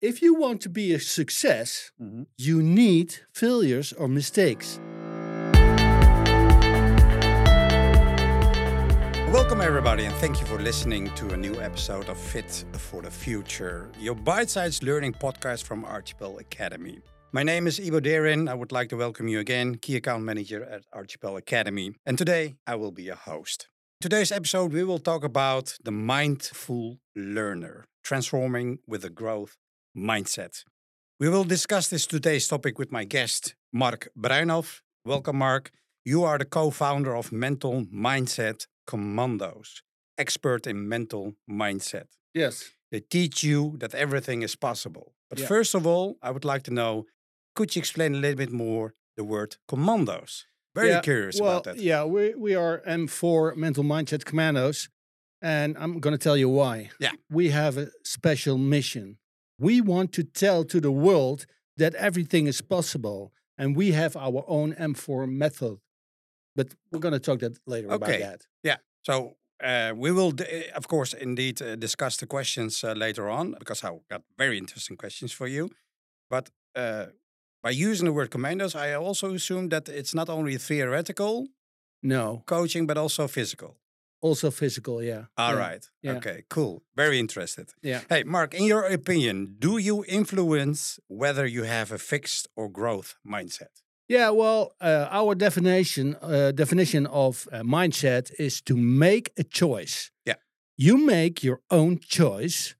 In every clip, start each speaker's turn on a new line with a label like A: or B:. A: If you want to be a success, you need failures or mistakes.
B: Welcome, everybody, and thank you for listening to a new episode of Fit for the Future, your bite sized learning podcast from Archipel Academy. My name is Ibo Derin. I would like to welcome you again, Key Account Manager at Archipel Academy. And today I will be your host. Today's episode, we will talk about the mindful learner, transforming with a growth mindset. We will discuss this today's topic with my guest, Mark Bruinhoff. Welcome, Mark. You are the co founder of Mental Mindset Commandos, expert in mental mindset.
A: Yes.
B: They teach you that everything is possible. But
A: Yeah.
B: first of all, I would like to know could you explain a little bit more the word commandos? Very
A: Yeah,
B: curious
A: well,
B: about that.
A: Yeah, we, we are M4 Mental Mindset Commandos, and I'm going to tell you why.
B: Yeah.
A: We have a special mission. We want to tell to the world that everything is possible, and we have our own M4 method. But we're going to talk that later about
B: Okay.
A: that.
B: So uh, we will, d- uh, of course, indeed uh, discuss the questions uh, later on because I got very interesting questions for you. But uh, by using the word commandos, I also assume that it's not only theoretical
A: No,
B: coaching but also physical.
A: also physical, yeah.
B: All
A: Yeah.
B: right.
A: yeah.
B: Okay. Cool. Very interested.
A: Yeah.
B: Hey, Mark. In your opinion, do you influence whether you have a fixed or growth mindset?
A: Yeah, well, uh, our definition uh, definition of uh, mindset is to make a choice.
B: Yeah.
A: you make your own choice,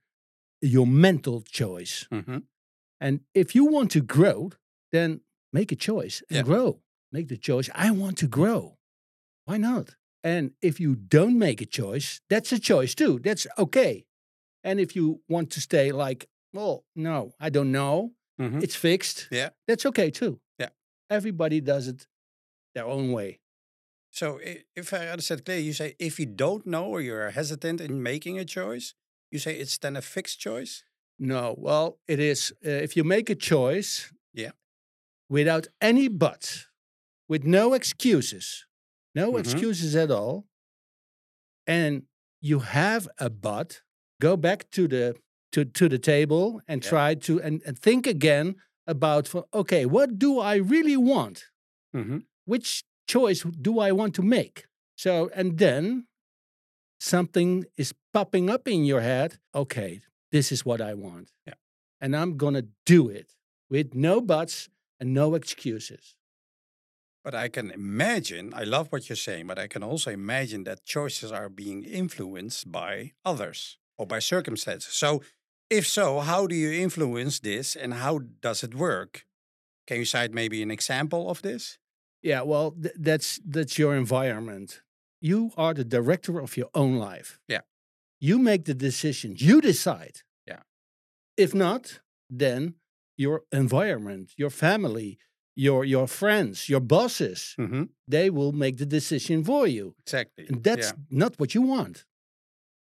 A: your mental choice,
B: Mm-hmm.
A: and if you want to grow, then make a choice and
B: Yeah.
A: grow. Make the choice. I want to grow. Why not? And if you don't make a choice, that's a choice too. That's okay. And if you want to stay like, well, no, I don't know
B: Mm-hmm.
A: it's fixed.
B: Yeah.
A: That's okay too.
B: Yeah.
A: Everybody does it their own way.
B: So, i- if I understand clearly, you say if you don't know or you're hesitant in making a choice, you say it's then a fixed choice.
A: No, well, it is uh, if you make a choice,
B: Yeah.
A: without any buts, with no excuses, no
B: Mhm.
A: excuses at all, and you have a but, go back to the to to the table and
B: Yeah.
A: try to and, and think again about for okay, what do I really want?
B: Mm-hmm.
A: which choice do I want to make? So, and then something is popping up in your head. Okay, this is what I want.
B: Yeah.
A: And I'm going to do it with no buts and no excuses.
B: But I can imagine, I love what you're saying, but I can also imagine that choices are being influenced by others or by circumstances. So, if so, how do you influence this and how does it work? Can you cite maybe an example of this?
A: Yeah, well, th- that's that's your environment. You are the director of your own life.
B: Yeah.
A: You make the decisions. You decide.
B: Yeah.
A: If not, then your environment, your family, your your friends, your bosses,
B: Mm-hmm.
A: they will make the decision for you.
B: Exactly.
A: And that's
B: yeah.
A: not what you want,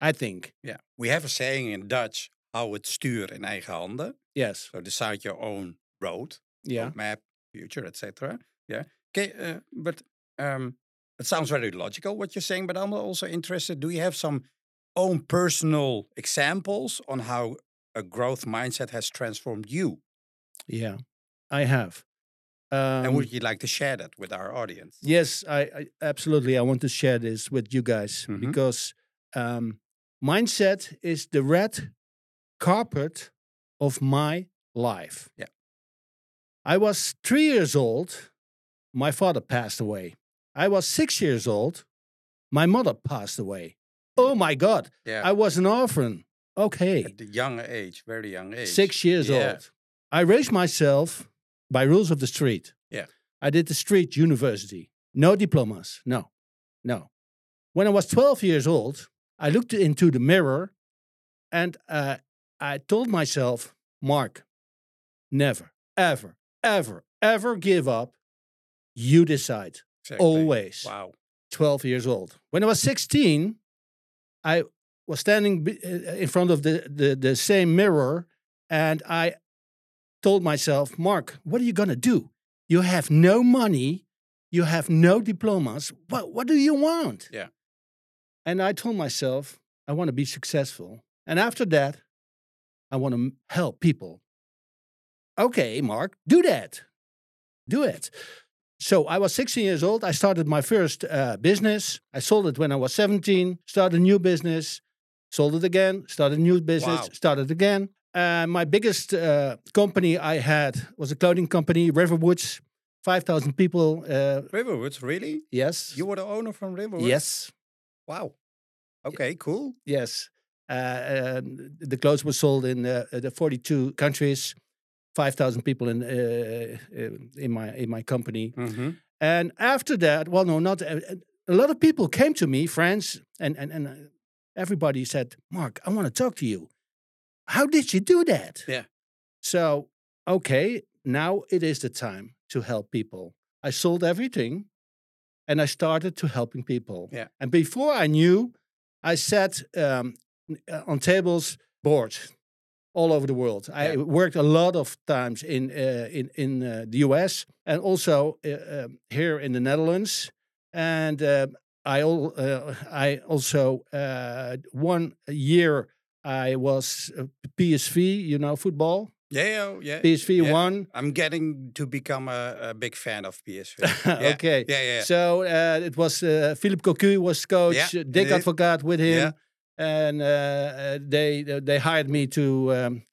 A: I think.
B: yeah. We have a saying in Dutch: "Hou het stuur in eigen handen."
A: Yes.
B: So decide your own road,
A: Yeah.
B: map, future, etc. Yeah. Okay, uh, but um, it sounds very logical what you're saying. But I'm also interested. Do you have some own personal examples on how a growth mindset has transformed you?
A: Yeah. I have. Um,
B: and would you like to share that with our audience?
A: yes, I, I absolutely. I want to share this with you guys
B: Mhm.
A: because um, mindset is the red carpet of my life.
B: Yeah.
A: I was three years old. My father passed away. I was six years old. My mother passed away. Oh my God.
B: Yeah.
A: I was an orphan. Okay.
B: At a young age, very young age.
A: Six years
B: Yeah.
A: old. I raised myself by rules of the street.
B: Yeah.
A: I did the street university. No diplomas. No. No. When I was 12 years old, I looked into the mirror and uh, I told myself, Mark, never, ever, ever, ever give up. You decide.
B: Exactly.
A: Always.
B: Wow.
A: 12 years old. When I was 16, I was standing be- uh, in front of the, the, the same mirror and I told myself, Mark, what are you going to do? You have no money, you have no diplomas. What, what do you want?
B: Yeah.
A: And I told myself, I want to be successful. And after that, I want to help people. Okay, Mark, do that. Do it. So I was 16 years old. I started my first uh, business. I sold it when I was 17, started a new business, sold it again, started a new business,
B: Wow.
A: started again. Uh, my biggest uh, company I had was a clothing company, Riverwoods, 5,000 people. Uh,
B: Riverwoods, really?
A: yes.
B: You were the owner from Riverwoods?
A: yes.
B: Wow. Okay, cool.
A: Yes. Uh, um, the clothes were sold in uh, the 42 countries. 5,000 people in uh, uh, in my in my company.
B: Mm-hmm.
A: And after that, well, no, not uh, uh, a lot of people came to me, friends, and and and uh, everybody said, "Mark, I want to talk to you. How did you do that?"
B: Yeah.
A: So okay, now it is the time to help people. I sold everything, and I started to helping people.
B: Yeah.
A: And before I knew, I sat um, n- uh, on tables, boards. All over the world, I
B: Yeah.
A: worked a lot of times in uh, in in uh, the U.S and also uh, um, here in the Netherlands. And uh, I al- uh, I also uh, one year I was uh, PSV, you know, football.
B: Yeah, yeah, yeah.
A: PSV
B: Yeah.
A: won.
B: I'm getting to become a, a big fan of PSV. Yeah,
A: okay.
B: Yeah, yeah.
A: So uh, it was uh, Philip Cocu was coach,
B: Yeah,
A: uh, Dick
B: indeed.
A: Advocaat with him,
B: Yeah.
A: and uh, uh, they they hired me to um,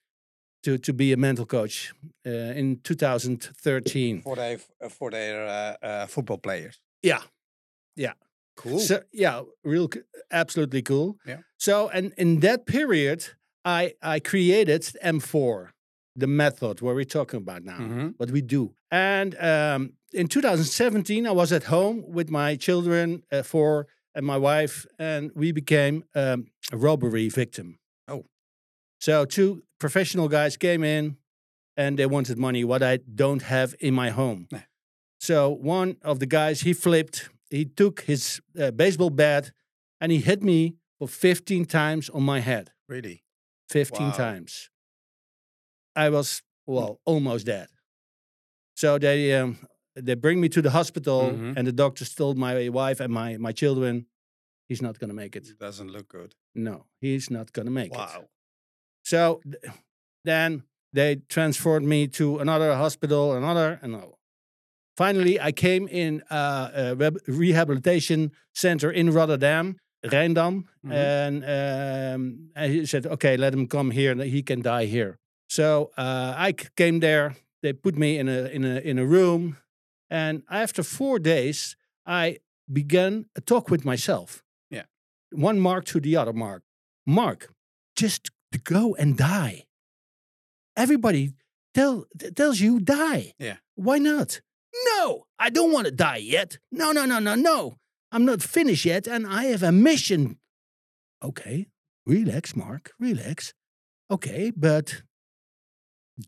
A: to to be a mental coach uh, in 2013.
B: For their, for their uh, uh, football players.
A: Yeah. Yeah.
B: Cool.
A: So yeah, real c- absolutely cool.
B: Yeah.
A: So and in that period, I I created M4, the method where we're talking about now,
B: Mhm.
A: what we do. Mm-hmm. And um, in 2017, I was at home with my children, uh, four, and my wife, and we became um, a robbery victim.
B: Oh.
A: So two professional guys came in, and they wanted money what I don't have in my home.
B: Yeah.
A: So one of the guys he flipped. He took his uh, baseball bat and he hit me for 15 times on my head.
B: really?
A: 15
B: Wow.
A: times. I was well almost dead. So they um, they bring me to the hospital
B: Mhm.
A: and the doctors told my wife and my my children he's not going to make it.
B: It doesn't look good.
A: No, he's not going to make it.
B: Wow.
A: So th- then they transferred me to another hospital, another, and all. finally I came in uh, a rehab- rehabilitation center in Rotterdam, Rijndam,
B: Mhm.
A: and, um, and he said, "Okay, let him come here. He can die here." So uh, I c- came there. They put me in a in a in a room, and after four days, I began a talk with myself.
B: Yeah.
A: one mark to the other mark. Mark, just to go and die. Everybody tell t- tells you die.
B: Yeah.
A: Why not? No, I don't want to die yet. No, no, no, no, no. I'm not finished yet, and I have a mission. Okay, relax, Mark. Relax. Okay, but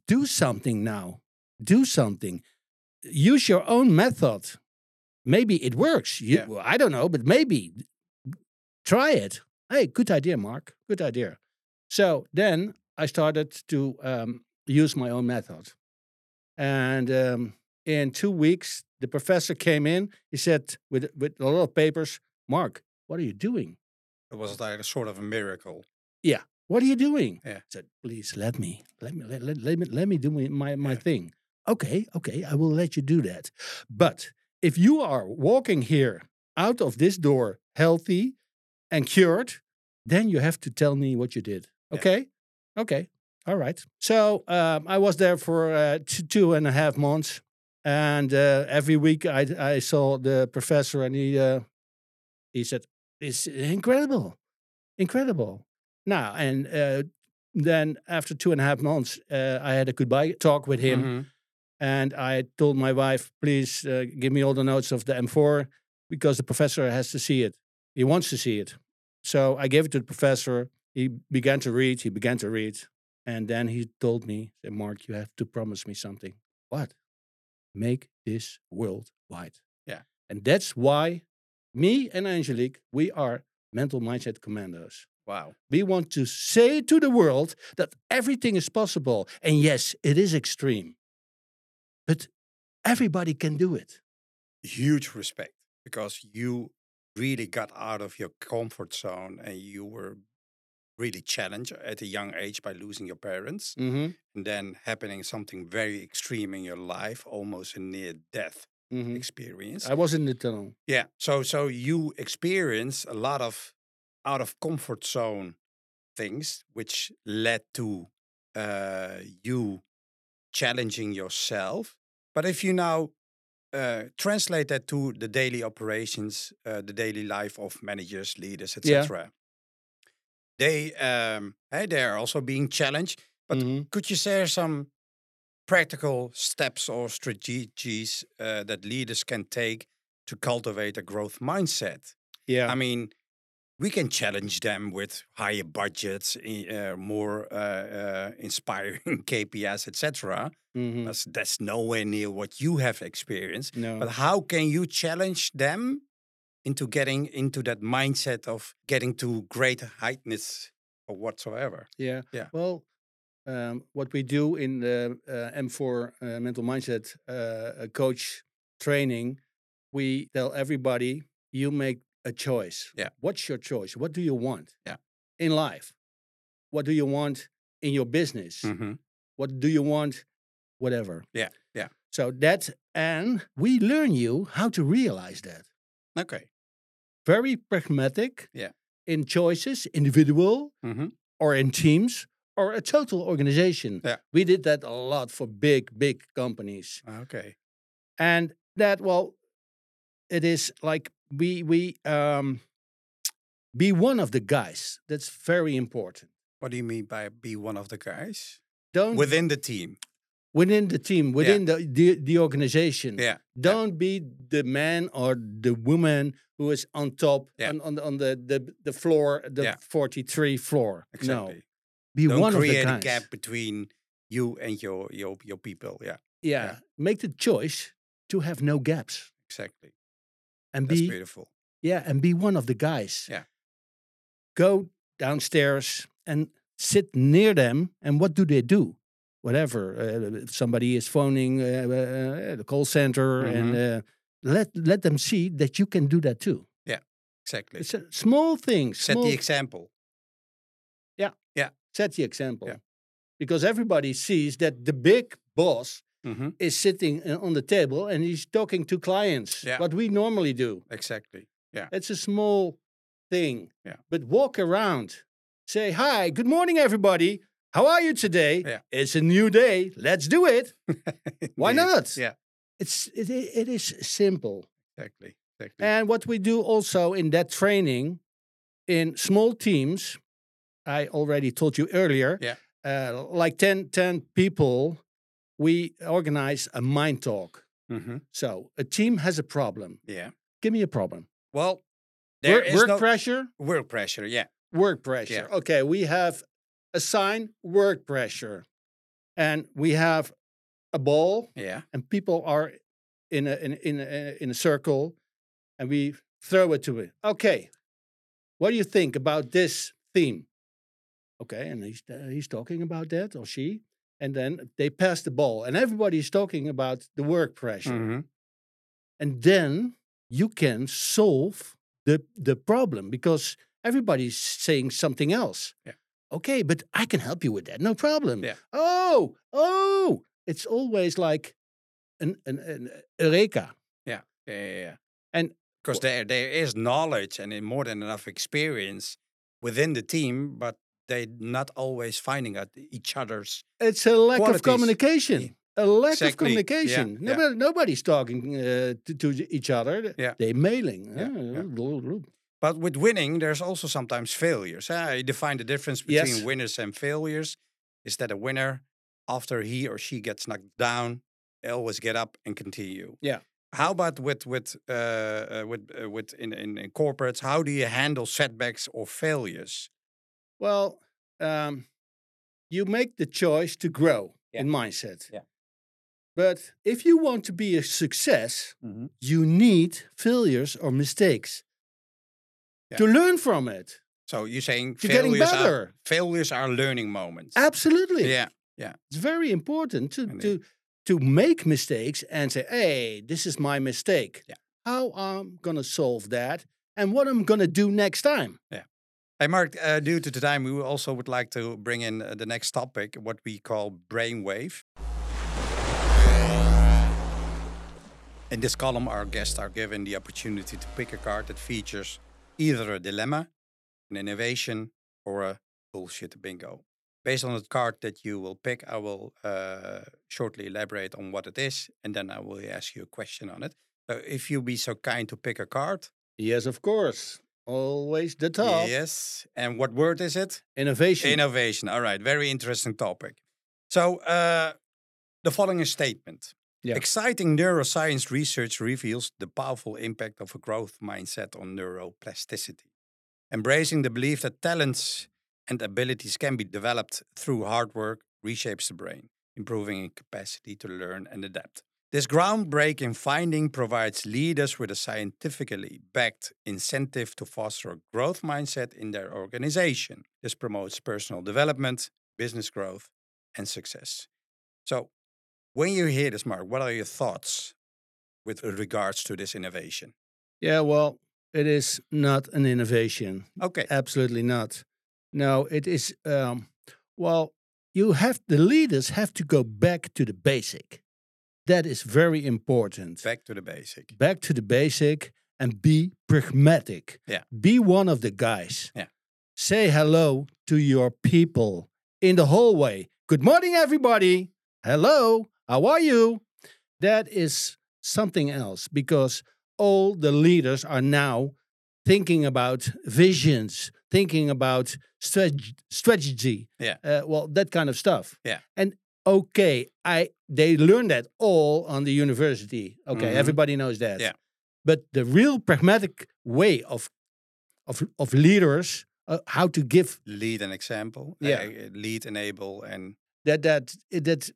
A: do something now. Do something. Use your own method. Maybe it works. You, I don't know, but maybe try it. Hey, good idea, Mark. Good idea. So then I started to um, use my own method. And um, in two weeks, the professor came in. He said, with, with a lot of papers, Mark, what are you doing?
B: It was like a sort of a miracle.
A: What are you doing?
B: Yeah.
A: I said, please let me, let me, let, let, let me, let me do my, my, my
B: Yeah.
A: thing. Okay, okay, I will let you do that. But if you are walking here out of this door healthy and cured, then you have to tell me what you did.
B: Yeah.
A: Okay, okay, all right. So um, I was there for uh, two, two and a half months, and uh, every week I I saw the professor, and he uh, he said, "It's incredible, incredible." Now and uh, then after two and a half months, uh, I had a goodbye talk with him,
B: Mhm.
A: and I told my wife, "Please uh, give me all the notes of the M4 because the professor has to see it. He wants to see it." So I gave it to the professor. He began to read. He began to read, and then he told me, "Say, "Mark, you have to promise me something." What? Make this worldwide.
B: Yeah.
A: And that's why me and Angelique, we are mental mindset commandos.
B: Wow.
A: We want to say to the world that everything is possible. And yes, it is extreme. But everybody can do it.
B: Huge respect because you really got out of your comfort zone and you were really challenged at a young age by losing your parents
A: Mm-hmm.
B: and then happening something very extreme in your life, almost a near death mm-hmm.
A: hmm
B: experience.
A: I was in the tunnel.
B: yeah. So so you experience a lot of out of comfort zone things which led to uh you challenging yourself. But if you now uh, translate that to the daily operations, uh, the daily life of managers, leaders,
A: Yeah.
B: etc. They um, hey, they are also being challenged. But
A: Mhm.
B: could you share some practical steps or strategies uh, that leaders can take to cultivate a growth mindset?
A: Yeah.
B: I mean, we can challenge them with higher budgets, i- uh, more uh, uh, inspiring KPIs, etc.
A: Mhm.
B: That's that's nowhere near what you have experienced.
A: No.
B: But how can you challenge them into getting into that mindset of getting to great heightness or whatsoever?
A: Yeah.
B: Yeah.
A: Well, um, what we do in the uh, M4 uh, mental mindset uh, uh, coach training, we tell everybody you make a choice.
B: Yeah.
A: What's your choice? What do you want?
B: Yeah.
A: In life, what do you want in your business?
B: Mm-hmm.
A: What do you want? Whatever.
B: Yeah, yeah.
A: So that, and we learn you how to realize that.
B: Okay.
A: Very pragmatic.
B: Yeah.
A: In choices, individual,
B: Mm-hmm.
A: or in teams or a total organization.
B: Yeah.
A: We did that a lot for big, big companies.
B: Okay.
A: And that, well, it is like we we um be one of the guys. That's very important.
B: What do you mean by be one of the guys
A: Don't
B: within the team?
A: within the team, within the, the the organization.
B: Yeah.
A: Don't be the man or the woman who is on top
B: Yeah.
A: on, on the on the, the, the floor, the
B: Yeah.
A: 43 floor. No.
B: Exactly.
A: Be
B: Don't
A: one of the
B: create
A: guys.
B: a gap between you and your your your people. Yeah.
A: yeah, make the choice to have no gaps
B: Exactly.
A: and
B: That's
A: be
B: beautiful.
A: yeah and be one of the guys
B: Yeah.
A: go downstairs and sit near them and what do they do whatever uh, if somebody is phoning uh, uh, the call center and
B: Mm-hmm.
A: uh, let let them see that you can do that too
B: Exactly.
A: it's a small thing
B: Set
A: small,
B: the example.
A: set the example because everybody sees that the big boss
B: Mm-hmm.
A: is sitting uh, on the table and he's talking to clients
B: Yeah.
A: what we normally do
B: Exactly.
A: It's a small thing.
B: Yeah.
A: But walk around, say, Hi, good morning, everybody. How are you today?
B: Yeah.
A: It's a new day. Let's do it. Why
B: Indeed.
A: not?
B: Yeah.
A: It's, it, i- it is simple.
B: Exactly. Exactly.
A: And what we do also in that training in small teams, I already told you earlier,
B: Yeah.
A: uh, like 10, 10 people, we organize a mind talk.
B: mm-hmm.
A: So a team has a problem.
B: Yeah.
A: Give me a problem.
B: Well, there
A: work
B: is
A: work
B: no
A: pressure,
B: work pressure. Yeah.
A: work pressure. Okay, we have a sign work pressure, and we have a ball,
B: Yeah.
A: and people are in a in a- in a, in a circle, and we throw it to it. Okay, what do you think about this theme? Okay, and he's uh, he's talking about that or she, and then they pass the ball, and everybody's talking about the work pressure,
B: Mm-hmm.
A: and then you can solve the the problem because everybody's saying something else.
B: Yeah.
A: Okay, but I can help you with that. No problem.
B: Yeah.
A: Oh, oh, it's always like an an, an eureka.
B: Yeah. yeah, yeah.
A: And-
B: because there there is knowledge and more than enough experience within the team, but they not always finding at each other's
A: It's a lack of
B: Qualities. E
A: communication. A lack of
B: Exactly. Yeah,
A: communication.
B: yeah.
A: Nobody, Nobody's talking uh, to, to each other.
B: Yeah.
A: They're mailing.
B: Yeah, But with winning, there's also sometimes failures. eh? I define the difference between
A: Yes.
B: winners and failures. Is that a winner, after he or she gets knocked down, they always get up and continue.
A: Yeah.
B: How about with with uh, uh, with uh, with in, in in corporates? How do you handle setbacks or failures?
A: Well, um, you make the choice to grow
B: Yeah.
A: in mindset.
B: Yeah.
A: But if you want to be a success, you need failures or mistakes
B: Yeah.
A: to learn from it.
B: So you're saying
A: You're getting
B: failures are
A: better.
B: failures are learning moments.
A: Absolutely.
B: Yeah.
A: It's very important to,
B: Indeed.
A: to to make mistakes and say, hey, this is my mistake.
B: Yeah.
A: How I'm gonna solve that and what I'm gonna do next time.
B: Yeah. Hey, Mark, uh, due to the time, we also would like to bring in uh, the next topic, what we call brainwave. In this column, our guests are given the opportunity to pick a card that features either a dilemma, an innovation, or a bullshit bingo. Based on the card that you will pick, I will uh, shortly elaborate on what it is, and then I will ask you a question on it. So, if you be so kind to pick a card,
A: Yes, of course. Always the top.
B: yes. And what word is it?
A: Innovation.
B: Innovation. All right. Very interesting topic. So, uh, the following statement
A: Yeah.
B: Exciting neuroscience research reveals the powerful impact of a growth mindset on neuroplasticity. Embracing the belief that talents and abilities can be developed through hard work reshapes the brain, improving in capacity to learn and adapt. This groundbreaking finding provides leaders with a scientifically backed incentive to foster a growth mindset in their organization. This promotes personal development, business growth, and success. So, when you hear this, Mark, what are your thoughts with regards to this innovation?
A: yeah, well, it is not an innovation.
B: Okay.
A: Absolutely not. No, it is. Um, well, you have the leaders have to go back to the basic. That is very important.
B: Back to the basic.
A: Back to the basic and be pragmatic.
B: Yeah.
A: Be one of the guys.
B: Yeah.
A: Say hello to your people in the hallway. Good morning, everybody. Hello. How are you? That is something else because all the leaders are now thinking about visions, thinking about strat- strategy,
B: Yeah.
A: uh, well, that kind of stuff.
B: Yeah.
A: And okay, I they learn that all on the university. Okay,
B: Mhm.
A: everybody knows that.
B: Yeah.
A: But the real pragmatic way of of of leaders, uh, how to give
B: Lead an example.
A: Yeah.
B: eh, lead, enable, and
A: that that that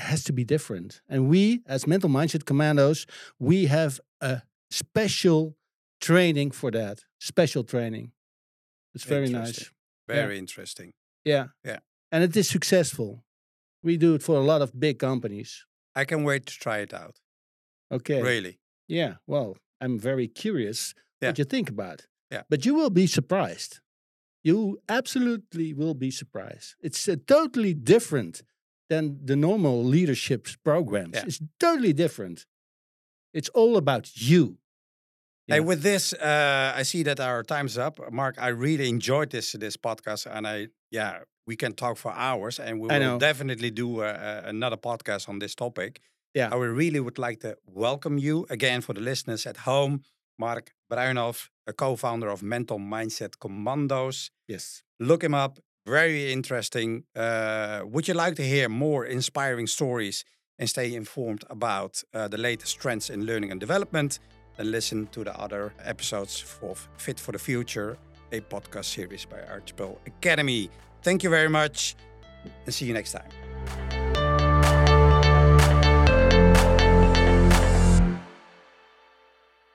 A: has to be different. And we, as mental mindset commandos, we have a special training for that. Special training. It's very nice.
B: Interesting. very interesting.
A: Yeah.
B: Yeah.
A: And it is successful. We do it for a lot of big companies.
B: I can wait to try it out.
A: Okay.
B: Really.
A: Yeah. Well, I'm very curious
B: Yeah.
A: what you think about.
B: Yeah.
A: But you will be surprised. You absolutely will be surprised. It's uh, totally different than the normal leadership programs.
B: Yeah.
A: It's totally different. It's all about you.
B: Hey,
A: Yeah.
B: with this, uh, I see that our time's up. Mark, I really enjoyed this this podcast, and I yeah, we can talk for hours, and we
A: I
B: will
A: know.
B: definitely do uh, uh, another podcast on this topic.
A: Yeah.
B: I would really would like to welcome you again for the listeners at home, Mark Bruinhoff, a co-founder of Mental Mindset Commandos.
A: Yes.
B: Look him up; very interesting. Uh, would you like to hear more inspiring stories and stay informed about uh, the latest trends in learning and development? and listen to the other episodes of Fit for the Future, a podcast series by Archibald Academy. Thank you very much and see you next time.